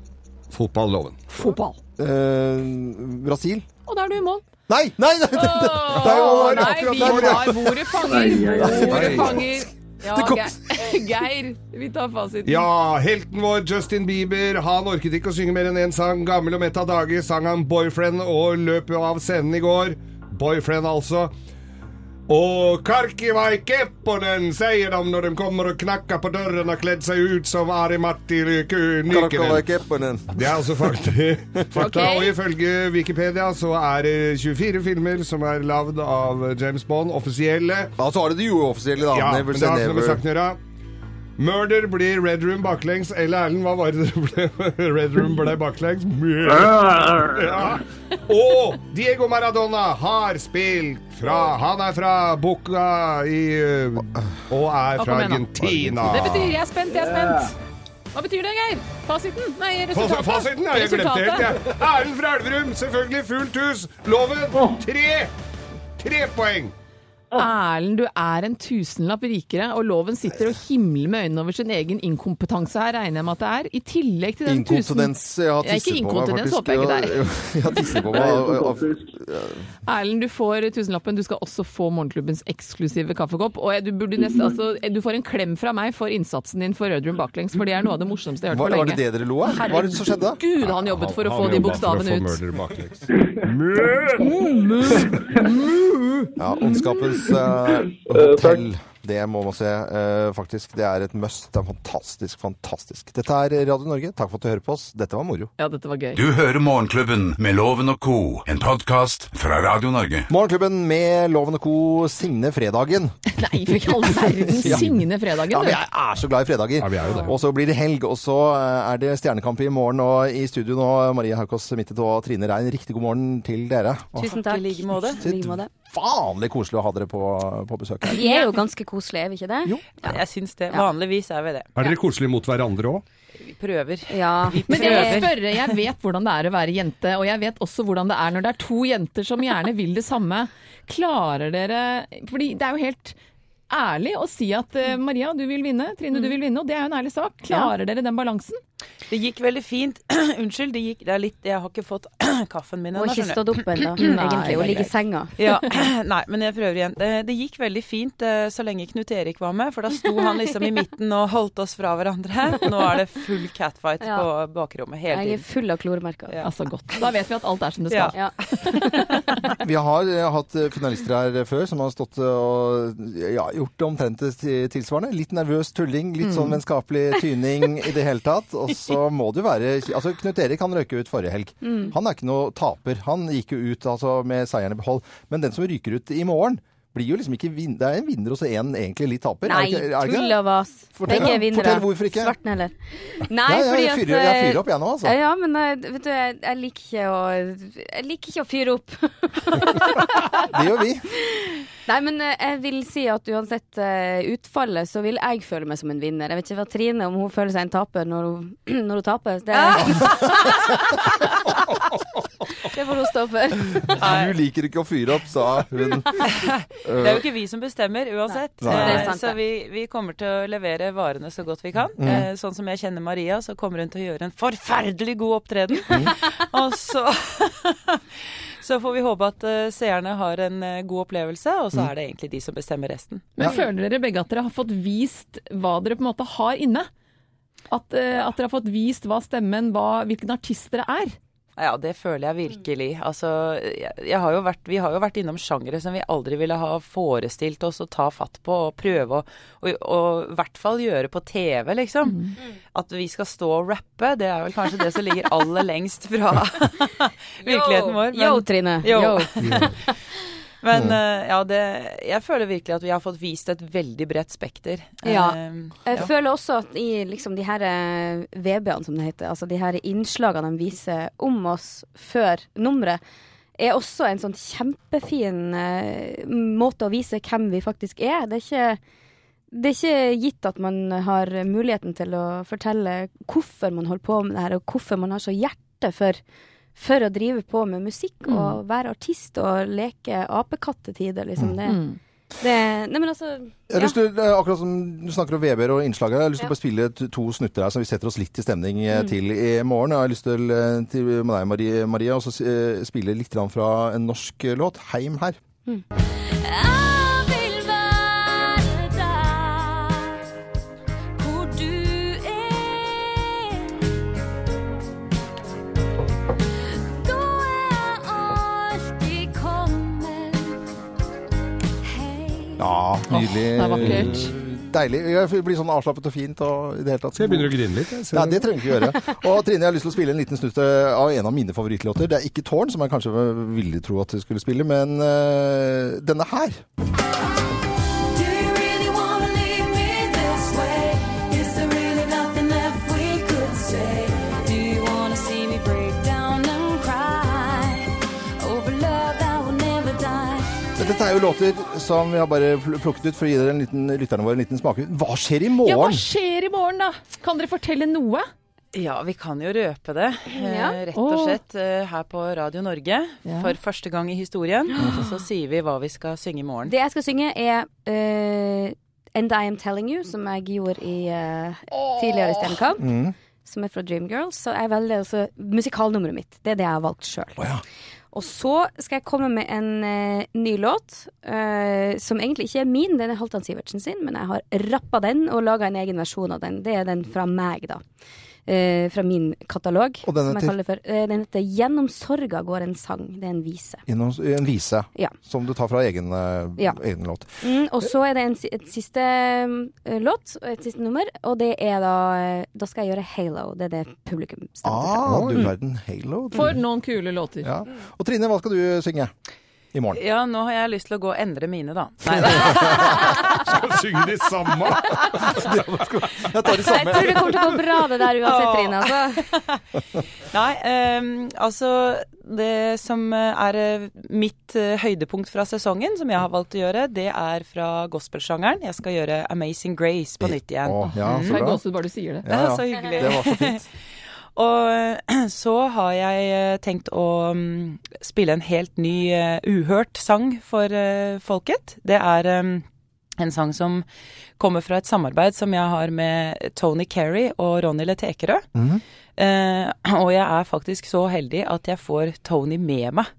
Fotballoven.
Fotball.
Eh, Brasil?
Og da er du i mål.
Nei! Nei! nei, det, det, det, det,
Åh,
var
nei,
akkurat
vi
der, det,
tar bordet fanger. Bordet
ai.
fanger. Ja,
Det kom-
Geir. Geir, vi tar fasiten.
Ja, helten vår Justin Bieber, han orket ikke å synge mer enn én sang. Gammel og mett av dager sang han 'Boyfriend' og løp jo av scenen i går. Boyfriend, altså. Og Karkivai Kepponen sier de når de kommer og knakker på døren og kledd seg ut som Ari-Matti
Karkavai
Nykenen.
Kepponen.
Det er altså fakta. fakta.
Ok.
Og ifølge Wikipedia så er det 24 filmer som er lagd av James Bond, offisielle.
Ja, så har du det uoffisielle, da.
Ja, men
never
det
say
har ikke noe med
never.
saken å gjøre. Murder blir Red Room baklengs. Eller Erlend, hva var det det ble? Red Room ble baklengs. Ja. Og Diego Maradona har spilt fra Han er fra Buca i uh, Og er
Hva
fra
kom igjen, da?
Argentina.
Det betyr jeg er spent, jeg er spent. Hva betyr det, Geir? Fasiten? Nei,
Fas-
resultatet.
Fasiten? Ja, jeg glemte helt, jeg. Erlend fra Elverum, selvfølgelig fullt hus. Loven tre. Tre poeng.
Erlend, du er en tusenlapp rikere, og loven sitter og himler med øynene over sin egen inkompetanse her, regner jeg med at det er. I tillegg til den tusen...
Inkontinens. Jeg har
Ja, ikke
tisset på meg,
inkontinens,
faktisk.
håper jeg ikke det er.
Jo, jo, Jeg har tisset på meg. og- og-
Erlend, du får tusenlappen. Du skal også få Morgenklubbens eksklusive kaffekopp. Og du, burde nest,
Mm.
altså, du får en klem fra meg for innsatsen din for Rødrum baklengs, for det er noe av det morsomste jeg har hørt
Var,
på
var
lenge.
det det dere lo av? Hva var det som skjedde?
Gud, han jobbet for å få de bokstavene ut.
Ja, Ondskapens eh, hotell. Det må man se, eh, faktisk. Det er et must. Det er fantastisk, fantastisk. Dette er Radio Norge. Takk for at du hører på oss. Dette var moro.
Ja, dette var gøy.
Du hører Morgenklubben med Loven og co., en podkast fra Radio Norge.
Morgenklubben med Loven og Co. Signe fredagen.
Nei, for ikke all verden. Signe
Ja,
fredagen,
men
du.
jeg er så glad i fredager.
vi er jo det.
Og så blir det helg, og så eh, er det Stjernekamp i morgen. Og i studio nå, Marie Haukås Mittet og Trine Rein, riktig god morgen til dere. Og
Tusen takk. I like måte.
vanlig koselig å ha dere på, på besøk her.
Vi er jo ganske koselige, er vi ikke det?
Jo.
Ja, jeg syns det. Vanligvis er vi det.
Er dere koselige mot hverandre òg?
Vi prøver.
Ja.
Men jeg må spørre, jeg vet hvordan det er å være jente, og jeg vet også hvordan det er når det er to jenter som gjerne vil det samme. Klarer dere Fordi det er jo helt ærlig å si at eh, Maria, du vil vinne, Trine, du vil vinne, og det er jo en ærlig sak. Klarer dere den balansen?
Det gikk veldig fint. Unnskyld, det gikk det er litt Jeg har ikke fått kaffen min
Må
ennå,
ikke
skjønner du.
stått opp ennå, egentlig, og ligge i senga.
Ja, nei, men jeg prøver igjen. Det, det gikk veldig fint eh, så lenge Knut Erik var med, for da sto han liksom i midten og holdt oss fra hverandre. Nå er det full catfight
Ja.
på bakrommet
Jeg
hele
er
tiden.
full av kloremerker.
Ja.
Altså godt. Da vet vi at alt er som det skal.
Ja.
Vi har eh, hatt eh, finalister her før som har stått eh, og ja, gjort det omtrent det ti- tilsvarende. Litt nervøs tulling, litt
Mm.
sånn vennskapelig tyning i det hele tatt. Og så må det jo være Altså, Knut Erik han røyker ut forrige helg.
Mm.
Han er ikke noe taper. Han gikk jo ut altså, med seieren i behold. Men den som ryker ut i morgen, blir jo liksom ikke vin Det er en vinner og så en egentlig litt taper.
Nei,
er det ikke, er det ikke?
tull av oss.
Fortell,
Begge
da.
er vinnere.
Fortell hvorfor ikke.
Svarten heller. Nei,
Ja, ja,
fordi
jeg
at
fyrer- jeg fyrer opp, jeg nå, altså.
Ja, Ja, men eh, vet du, jeg, jeg liker ikke å Jeg liker ikke å fyre opp.
Det gjør vi.
Nei, men eh, jeg vil si at uansett eh, utfallet, så vil jeg føle meg som en vinner. Jeg vet ikke hva Trine om hun føler seg en taper når hun, når hun taper. Det, Det får hun stå for.
Du liker ikke å fyre opp, sa hun.
Det er jo ikke vi som bestemmer uansett.
Nei. Nei.
Eh,
Det er sant,
Så vi, vi kommer til å levere varene så godt vi kan.
Mm.
Eh, Sånn som jeg kjenner Maria, så kommer hun til å gjøre en forferdelig god opptreden. Og så Så får vi håpe at eh, seerne har en eh, god opplevelse, og så
Mm.
er det egentlig de som bestemmer resten.
Men føler dere begge at dere har fått vist hva dere på en måte har inne? At, eh, at dere har fått vist hva stemmen, hva, hvilken artist dere er?
Ja, det føler jeg virkelig. Altså, jeg, jeg har jo vært, vi har jo vært innom sjangere som vi aldri ville ha forestilt oss å ta fatt på og prøve å og- og i hvert fall gjøre på TV, liksom. At vi skal stå og rappe, det er vel kanskje det som ligger aller lengst fra virkeligheten vår.
Yo, Trine.
Yo.
Yo.
Men eh, ja, det, jeg føler virkelig at vi har fått vist et veldig bredt spekter.
Ja.
Eh,
Jeg
ja.
føler også at i liksom de her eh, VB-ene, som det heter, altså de her innslagene de viser om oss før nummeret, er også en sånn kjempefin eh, måte å vise hvem vi faktisk er. Det er ikke det er ikke gitt at man har muligheten til å fortelle hvorfor man holder på med det her, og hvorfor man har så hjerte for, for å drive på med musikk
Mm.
og være artist og leke apekattetider, liksom. Det,
Mm.
det Nei, men altså
Jeg har lyst til, eh, akkurat som du snakker om Weber og innslaget, jeg har lyst til
Ja.
å bare spille t- to snutter her som vi setter oss litt i stemning eh,
Mm.
til i morgen. Jeg har lyst til, eh, til med deg, Marie, Maria, og så eh, spille litt grann fra en norsk eh, låt, 'Heim her'.
Jeg vil være der hvor du er. Da er jeg alltid kommet.
Ja, nydelig.
det er vakkert.
Deilig. Jeg blir sånn avslappet og fint. Og i det hele tatt.
Så jeg begynner å grine litt, jeg. Så-
Ja, det trenger vi ikke gjøre. Og Trine, jeg har lyst til å spille en liten snutt eh, av en av mine favorittlåter. Det er ikke 'Tårn', som jeg kanskje ville tro at du skulle spille, men eh, denne her.
Do you really wanna leave me this way? Is there really nothing left we could say? Do you wanna see me break down and cry over love that will never die?
Dette er jo låter som vi har bare pl- plukket ut for å gi dere en liten, lytterne våre en liten smakebit. Hva skjer i
Ja, hva
morgen?
skjer i morgen, da? Kan dere fortelle noe?
Ja, vi kan jo røpe det, eh,
Ja.
rett og
Åh.
slett, eh, her på Radio Norge.
Ja.
For første gang i historien. Og så sier vi hva vi skal synge i morgen.
Det jeg skal synge er eh, And I Am Telling You, som jeg gjorde i, eh, tidligere i Stjernekamp.
Mm.
Som er fra Dreamgirls. Så jeg velger altså musikalnummeret mitt. Det er det jeg har valgt sjøl. Og så skal jeg komme med en eh, ny låt, eh, som egentlig ikke er min, den er Halvdan Sivertsen sin, men jeg har rappa den og laga en egen versjon av den. Det er den fra meg, da. Eh, fra min katalog,
Og den
som jeg
heter?
kaller for. eh, den heter 'Gjennom sorga går en sang'. Det er en vise.
Innom s- En vise
Ja.
som du tar fra egen, eh,
Ja.
egen låt.
Mm, og så er det en, si- et siste um, låt, et siste nummer, og det er da eh, Da skal jeg gjøre Halo. Det er det publikum
Ah,
stemmer
du verden. Halo. du.
For noen kule låter.
Ja. Og Trine, hva skal du synge i morgen?
Ja, nå har jeg lyst til å gå og endre mine, da.
Skal synge de samme?
Jeg tar de samme.
Jeg tror det kommer til å gå bra, det der uansett, Trine. Altså.
Nei, ehm, altså Det som eh, er eh, mitt eh, høydepunkt fra sesongen, som jeg har valgt å gjøre, det er fra gospelsjangeren. Jeg skal gjøre Amazing Grace på nytt igjen.
Å, ja, så bra.
Mm.
Jeg får gåsehud
bare du sier det.
Ja,
Ja,
ja.
Så hyggelig.
Det var så fint.
Og eh, så har jeg eh, tenkt å mm, spille en helt ny eh, uhørt sang for eh, folket. Det er eh, en sang som kommer fra et samarbeid som jeg har med Tony Carey og Ronny Letekerø.
Mhm.
Eh, og jeg er faktisk så heldig at jeg får Tony med meg.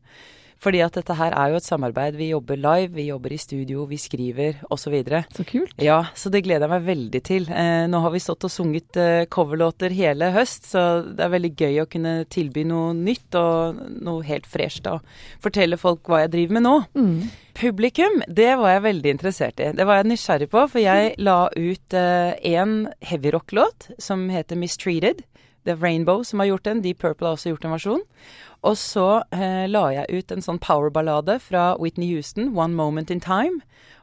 Fordi at dette her er jo et samarbeid. Vi jobber live, vi jobber i studio, vi skriver osv.
Så kult.
Ja, så det gleder jeg meg veldig til. Eh, nå har vi stått og sunget eh, coverlåter hele høst, så det er veldig gøy å kunne tilby noe nytt og noe helt fresht. Og fortelle folk hva jeg driver med nå.
Mm.
Publikum, det var jeg veldig interessert i. Det var jeg nysgjerrig på, for jeg la ut eh, én heavyrock-låt som heter 'Mistreated'. Det er Rainbow som har gjort den. Deep Purple har også gjort en versjon. Og så eh, la jeg ut en sånn powerballade fra Whitney Houston, 'One Moment in Time'.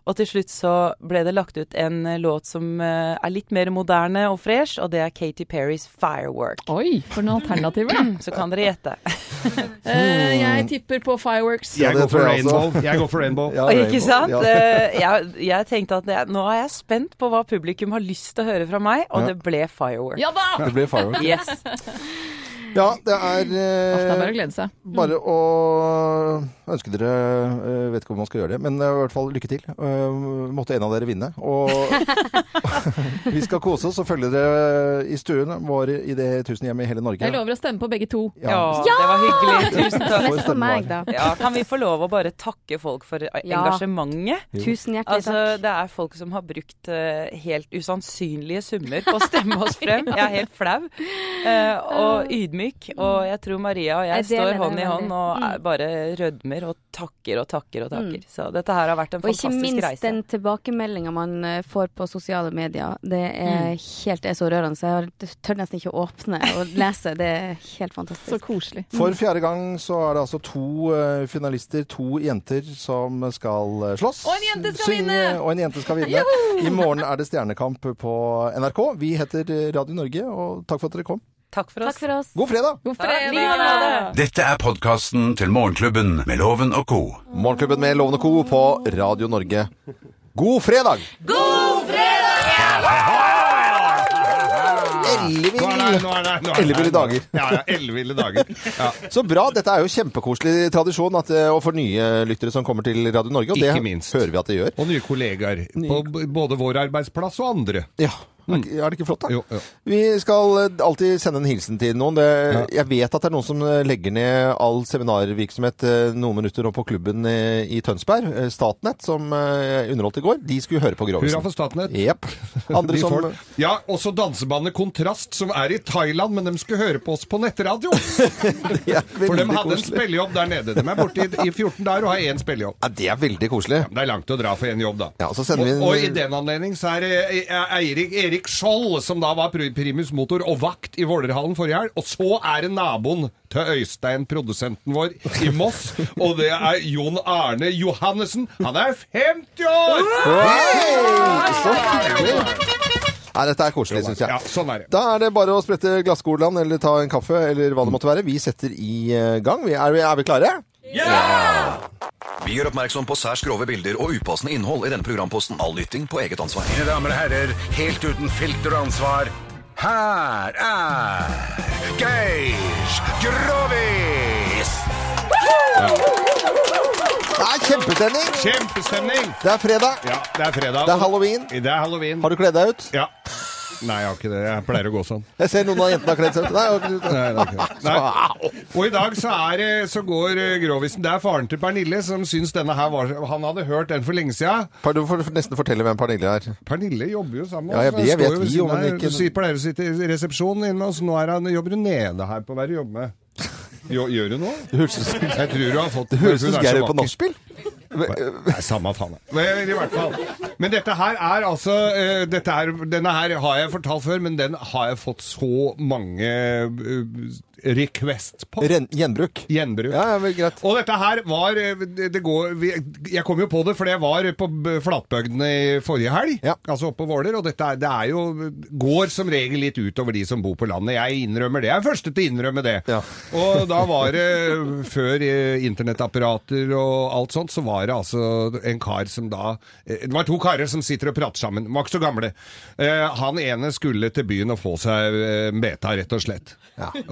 Og til slutt så ble det lagt ut en eh, låt som eh, er litt mer moderne og fresh, og det er Katy Perrys 'Firework'.
Oi, for noen alternativer, da.
så kan dere gjette.
Eh, jeg tipper på Fireworks.
Jeg går for Rainbow. Jeg går for Rainbow.
Og ikke sant? Eh, jeg, jeg tenkte at det, nå er jeg spent på hva publikum har lyst til å høre fra meg, og
Ja.
det ble firework.
Ja da!
Det ble firework.
Yes.
Ja, det er eh,
det er bare å glede seg. Mm.
Bare å ønske dere eh, Vet ikke om man skal gjøre det, men eh, i hvert fall lykke til. Eh, Måtte en av dere vinne. Og vi skal kose oss og følge dere i stuen vår i det tusenhjemmet i hele Norge.
Jeg lover å stemme på begge to.
Ja, det var hyggelig. Tusen takk.
Neste for meg, da.
Ja, kan vi få lov å bare takke folk for eh,
Ja.
engasjementet?
Jo. Tusen hjertelig
altså, Det er folk som har brukt eh, helt usannsynlige summer på å stemme oss frem. Jeg er helt flau eh, og ydmyk. Og jeg tror Maria og jeg,
Jeg deler
står
det
hånd i hånd
veldig.
og
Mm.
er bare rødmer og takker og takker og takker.
Mm.
Så dette her har vært en
Og ikke
fantastisk
minst
reise.
den tilbakemeldinga man eh, får på sosiale medier. Det er
Mm.
helt det er så rørende. Så jeg har- tør nesten ikke å åpne og lese. Det er helt fantastisk. Mm.
Så koselig.
For fjerde gang så er det altså to eh, finalister, to jenter, som skal eh, slåss.
Og en jente skal
synge,
vinne!
Og en jente skal vinne.
Joho!
I morgen er det Stjernekamp på NRK. Vi heter eh, Radio Norge, og takk for at dere kom.
Takk for oss.
Takk for oss.
God fredag!
God
fredag!
Dette er podkasten til Morgenklubben med Loven og co.
Morgenklubben med Lovende Co. på Radio Norge. God fredag!
Nå er det- nå er det- nå er det-
Elleville dager.
Ja, ja, elleville dager. Ja.
Så bra. Dette er jo kjempekoselig tradisjon at, eh, og for nye lyttere som kommer til Radio Norge. Og
Ikke
det hører vi at det gjør.
Og nye kollegaer på b- både vår arbeidsplass og andre.
Ja. Er ikke- Mm. er det ikke flott, da?
Jo, jo.
Vi skal eh, alltid sende en hilsen til noen. Det, jeg vet at det er noen som eh, legger ned all seminarvirksomhet eh, noen minutter nå på klubben eh, i Tønsberg. eh, Statnett, som eh, underholdt i går. De skulle høre på Grovisen.
Hurra for Statnett.
Jep. Andre
De
som
får- Ja, også dansebandet Kontrast, som er i Thailand, men de skulle høre på oss på nettradio. For de
veldig
hadde en
koselig.
spillejobb der nede. De er borte i, i 14 dager og har én spillejobb.
Ja, det er veldig koselig.
det er langt å dra for én jobb, da.
Ja, så sender vi en-
og, og i den anledning så er det eh, Eirik, Erik Skjold, som da var pr- primus motor og vakt i Vålerhallen forrige helg. Og så er det naboen til Øystein, produsenten vår, i Moss. Og det er Jon Arne Johannessen. Han er 50 år!
Hei! Så hyggelig. Nei, dette er koselig, syns jeg.
Ja, sånn er det.
Da er det bare å sprette glasskolan eller ta en kaffe eller hva det måtte være. Vi setter i eh, gang. Vi er, er vi klare?
Vi gjør oppmerksom på særs grove bilder og upassende innhold i denne programposten. All lytting på eget ansvar.
Mine damer og herrer, helt uten filter og ansvar, her er Geir Grovis!
Det er kjempestemning!
Kjempestemning!
Det er fredag.
Ja, det er fredag.
Det er halloween.
Det er halloween.
Har du kledd deg ut?
Ja. Nei, jeg har ikke det. Jeg pleier å gå sånn.
Jeg ser noen av jentene har kledd seg ut. Nei, jeg har ikke
Nei, det er ikke det. Nei. Og i dag så, er, det- så går eh, Grovisen Det er faren til Pernille som syns denne her var Han hadde hørt den for lenge siden.
Par- Du får nesten fortelle hvem Pernille er.
Pernille jobber jo sammen
Ja, jeg,
med oss.
jeg
Hun står
vet
jo ved
vi
siden
jo, men
her.
ikke
Hun sitter- pleier å sitte i resepsjonen inne med oss. Nå er han, jobber hun nede her på hva er det hun jobber med. Jo, gjør hun noe?
Det høres ut
Jeg tror hun har fått
Det høres
hun
ut
er
som
så
Geir på
vakker.
nachspiel.
Nei, samme faen. jeg. Men, i hvert fall. men dette her er altså eh, dette er, Denne her har jeg fortalt før, men den har jeg fått så mange eh, request på.
Ren- Gjenbruk.
Gjenbruk.
Ja, ja, vel, greit.
Og dette her var eh, det det går, vi- Jeg kom jo på det fordi jeg var på b- flatbygdene i forrige helg, altså oppe på Våler. Og dette er, det er jo, går som regel litt utover de som bor på landet. Jeg innrømmer det. Jeg er den første til å innrømme det. Og da var det, før eh, internettapparater og alt sånt, så var det altså en kar som da eh, Det var to karer som sitter og prater sammen. De var ikke så gamle. Eh, Han ene skulle til byen og få seg eh, beta, rett og slett.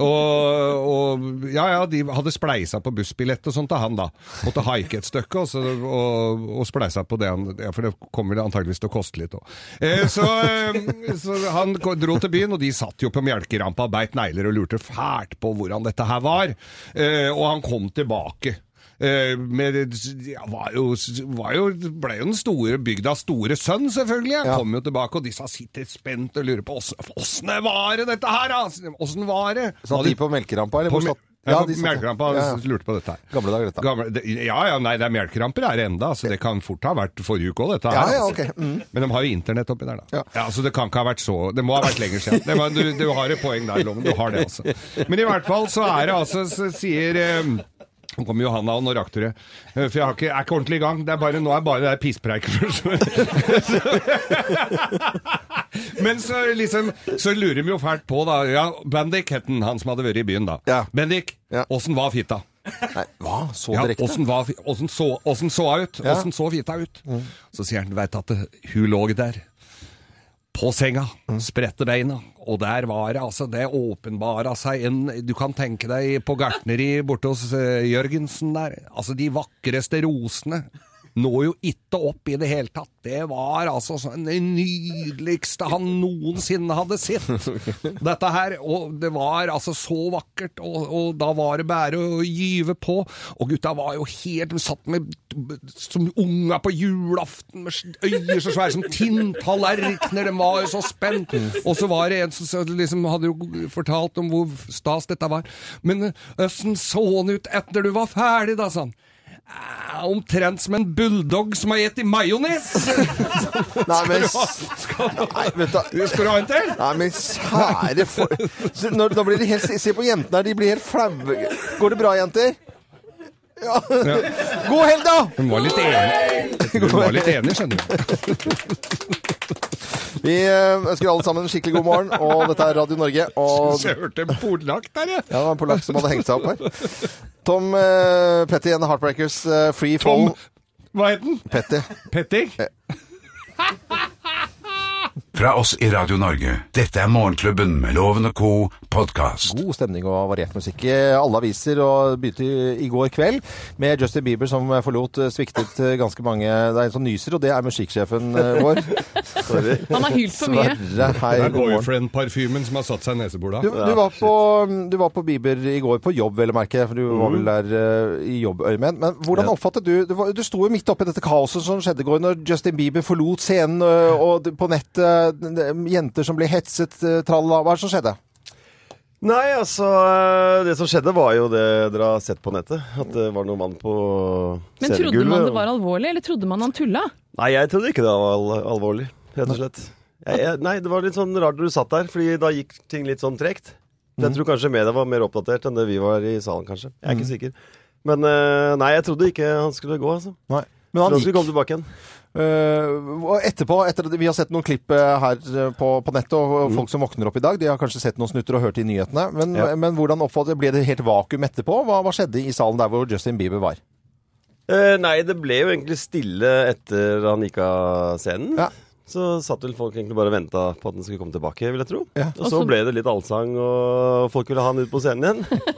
Og, og ja, ja, de hadde spleisa på bussbillett og sånt til han da. Måtte haike et stykke og, så, og, og spleisa på det han ja, For det kommer det antageligvis til å koste litt òg. Eh, så, eh, så han ko- dro til byen, og de satt jo på melkerampa og beit negler og lurte fælt på hvordan dette her var. Eh, og han kom tilbake. Eh, Med, ja, var jo, var jo, ble jo den store bygdas store sønn, selvfølgelig. Han kom jo tilbake, og disse sitter spent og lurer på åssen var det dette her, da? Åssen var det?
Satt de på melkerampa, eller
På
hvor
me-
satt-
Ja,
Ja,
på
de satt-
melkerampa
Ja, ja.
lurte på dette her.
Gamle dager, dette.
Gamle, det- ja, ja, nei, det er melkeramper her enda, så det kan fort ha vært forrige uke òg, dette her.
Ja, ja,
altså.
ok. Mm.
Men de har jo internett oppi der, da. Ja. Så det kan ikke ha vært så Det må ha vært lenger siden. Det var, du, du har et poeng der, Loven. Du har det, altså. Men i hvert fall så er det altså, så sier eh, nå kommer Johanna og når aktere. For jeg har ikke, er ikke ordentlig i gang. Det er bare, nå er bare det der pisspreiket først. Men så liksom Så lurer de jo fælt på, da. Ja, Bendik het han, han som hadde vært i byen, da. Bendik, åssen var fitta?
Nei, hva? Så
Ja,
direkte?
åssen var fi- åssen så, åssen så hun ut?
Ja. Mm.
Åssen så fitta ut? Så sier han, veit at eh, hun lå der på senga, spredte beina, og der var det altså, det åpenbara seg en Du kan tenke deg på gartneri borte hos eh, Jørgensen der. Altså, de vakreste rosene når jo ikke opp i det hele tatt. Det var altså sånn det nydeligste han noensinne hadde sett. Dette her, og det var altså så vakkert, og, og da var det bare å gyve på. Og gutta var jo helt de satt med som unger på julaften, med øyer så svære som tinntallerkener, de var jo så spent. Og så var det en som så liksom hadde jo fortalt om hvor stas dette var. Men eh, åssen så han ut etter du var ferdig, da, sa han. «Eh, Omtrent som en bulldog som har gitt i majones!
Nei, men
Skal du ha- skal du ha-
Skal
du ha en til?
Nei, men kjære for... Så Når, da blir det helt, se på jentene her, de blir helt flaue. Går det bra, jenter? Ja.
Ja.
God helg, da!
Hun var litt enig, Hun var litt enig skjønner du.
Vi eh, ønsker alle sammen en skikkelig god morgen, og dette er Radio Norge. Og...
Jeg hørte en polakk der, jeg.
Ja, det var en polakk som hadde hengt seg opp her. Tom eh, Petty and the Heartbreakers, eh, Free Fall. Eh,
Hva het den?
Petty.
Fra oss i Radio Norge. Dette er Morgenklubben med Loven og co. podkast.
God stemning og variert musikk i eh, alle aviser, og begynte i- i går kveld med Justin Bieber som forlot eh, sviktet eh, ganske mange Det er en som nyser, og det er musikksjefen eh, vår.
Han har hylt for mye.
Sverre, hei,
det er
god morgen.
boyfriend-parfymen som har satt seg i neseboret.
Du, du, var på, mm, du var på Bieber i går, på jobb, vel å merke. For du
Mm.
var vel der eh, i jobbøyemed. Men hvordan
Ja.
oppfattet du Du, var, du sto jo midt oppi dette kaoset som skjedde i går, når Justin Bieber forlot scenen, eh, og det- på nettet eh, jenter som ble hetset, eh, tralala. Hva er det som skjedde?
Nei, altså eh, Det som skjedde, var jo det dere har sett på nettet. At det var noen mann på
Men trodde man det var alvorlig, eller trodde man han tulla?
Nei, jeg trodde ikke det var al alvorlig, rett og slett. Jeg, jeg, nei, det var litt sånn rart når du satt der, fordi da gikk ting litt sånn tregt. Jeg
Mhm.
tror kanskje media var mer oppdatert enn det vi var i salen, kanskje. Jeg er ikke sikker. Men eh, nei, jeg trodde ikke han skulle gå, altså.
Nei. Men han
Trodde
gikk.
skulle komme tilbake igjen.
Eh, og etterpå, etter at vi har sett noen klipp eh, her eh, på, på nettet, og folk som våkner opp i dag, de har kanskje sett noen snutter og hørt i nyhetene. Men,
Mm. Ja.
men hvordan oppfattet Ble det helt vakuum etterpå? Hva, hva skjedde i salen der hvor Justin Bieber var?
Eh, nei, det ble jo egentlig stille etter han gikk av scenen. Så satt vel folk egentlig bare og venta på at han skulle komme tilbake, vil jeg tro. Og så
Og så-
ble det litt allsang, og folk ville ha han ut på scenen igjen.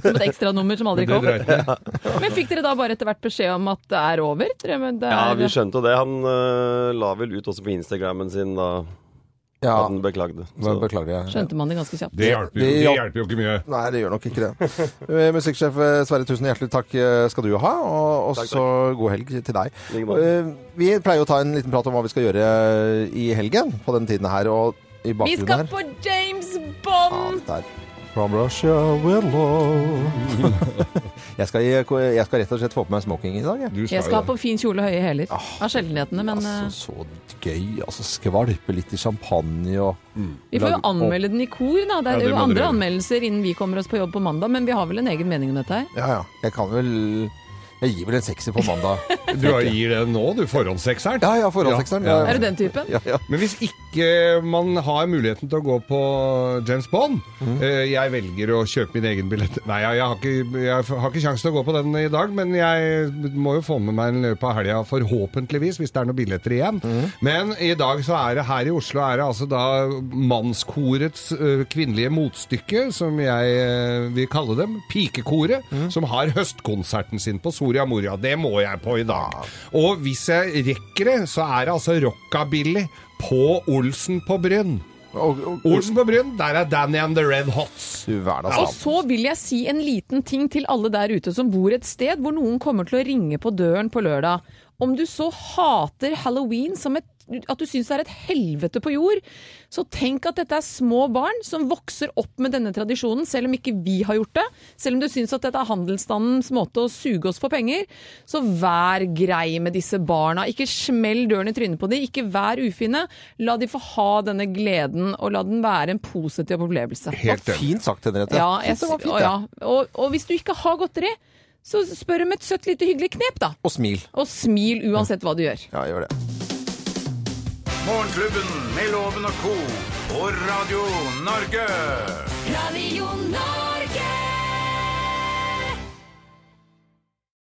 Som et ekstranummer som aldri kom.
ja.
Men fikk dere da bare etter hvert beskjed om at det er over? Dere, men det
ja,
er-
vi skjønte jo det. Han eh, la vel ut også på Instagrammen sin da
Ja.
at han beklagde.
Men beklager, jeg-
Skjønte man det ganske kjapt.
Det hjalp jo- det hjalp
jo ikke mye.
Nei, det gjør nok ikke det. Eh, Musikksjef eh, Sverre, tusen hjertelig takk eh, skal du ha, og
Takk,
også god helg til deg.
Like måte.
Eh, Vi pleier å ta en liten prat om hva vi skal gjøre eh, i helgen på denne tiden her, og i
Vi skal
bakgrunnen her.
på James Bond!
Der. From Russia with love. jeg, skal, i- jeg skal rett og slett få på meg smoking i dag.
Jeg skal ha på fin kjole og høye hæler. Av sjeldenhetene, men
Ah,
eh,
altså, Så gøy. altså Skvalpe litt i champagne og
vi får jo anmelde den i kor, da.
Ja,
Det er
det
jo
må dere
andre
gjøre.
anmeldelser innen vi kommer oss på jobb på mandag, men vi har vel en egen mening om dette her?
Ja, ja. Jeg kan vel Jeg gir vel en sekser på mandag.
Du gir det nå, du. Forhåndssekseren.
Ja, ja, forhåndssekseren.
Ja.
Er du den typen?
Men hvis ikke man har muligheten til å gå på James Bond
Mhm.
eh, Jeg velger å kjøpe min egen billett. Nei, jeg, jeg har ikke, jeg har ikke sjanse til å gå på den i dag, men jeg må jo få med meg en i løpet av helga, forhåpentligvis, hvis det er noen billetter igjen.
Mhm.
Men i dag så er det her i Oslo er det altså da mannskorets eh, kvinnelige motstykke, som jeg eh, vil kalle dem, pikekoret, som har høstkonserten sin på Soria Moria. Det må jeg på i dag. Og hvis jeg rekker det, så er det altså rockabilly på Olsen på Bryn. Olsen på Bryn, der er Danny and the Red Hots.
Og
altså.
så vil jeg si en liten ting til alle der ute som bor et sted hvor noen kommer til å ringe på døren på lørdag. Om du så hater halloween som et at du syns det er et helvete på jord, så tenk at dette er små barn som vokser opp med denne tradisjonen, selv om ikke vi har gjort det. Selv om du syns at dette er handelsstandens måte å suge oss for penger, så vær grei med disse barna. Ikke smell døren i trynet på dem, ikke vær ufine. La de få ha denne gleden, og la den være en positiv opplevelse.
Det var Fint sagt, Henriette.
Ja, jeg,
Fint, det var fint,
og,
det.
ja. Og, og hvis du ikke har godteri, så spør om et søtt, lite hyggelig knep, da.
Og smil.
Og smil uansett hva du gjør.
Ja, gjør det.
Morgenklubben med Loven og co. på Radio Norge.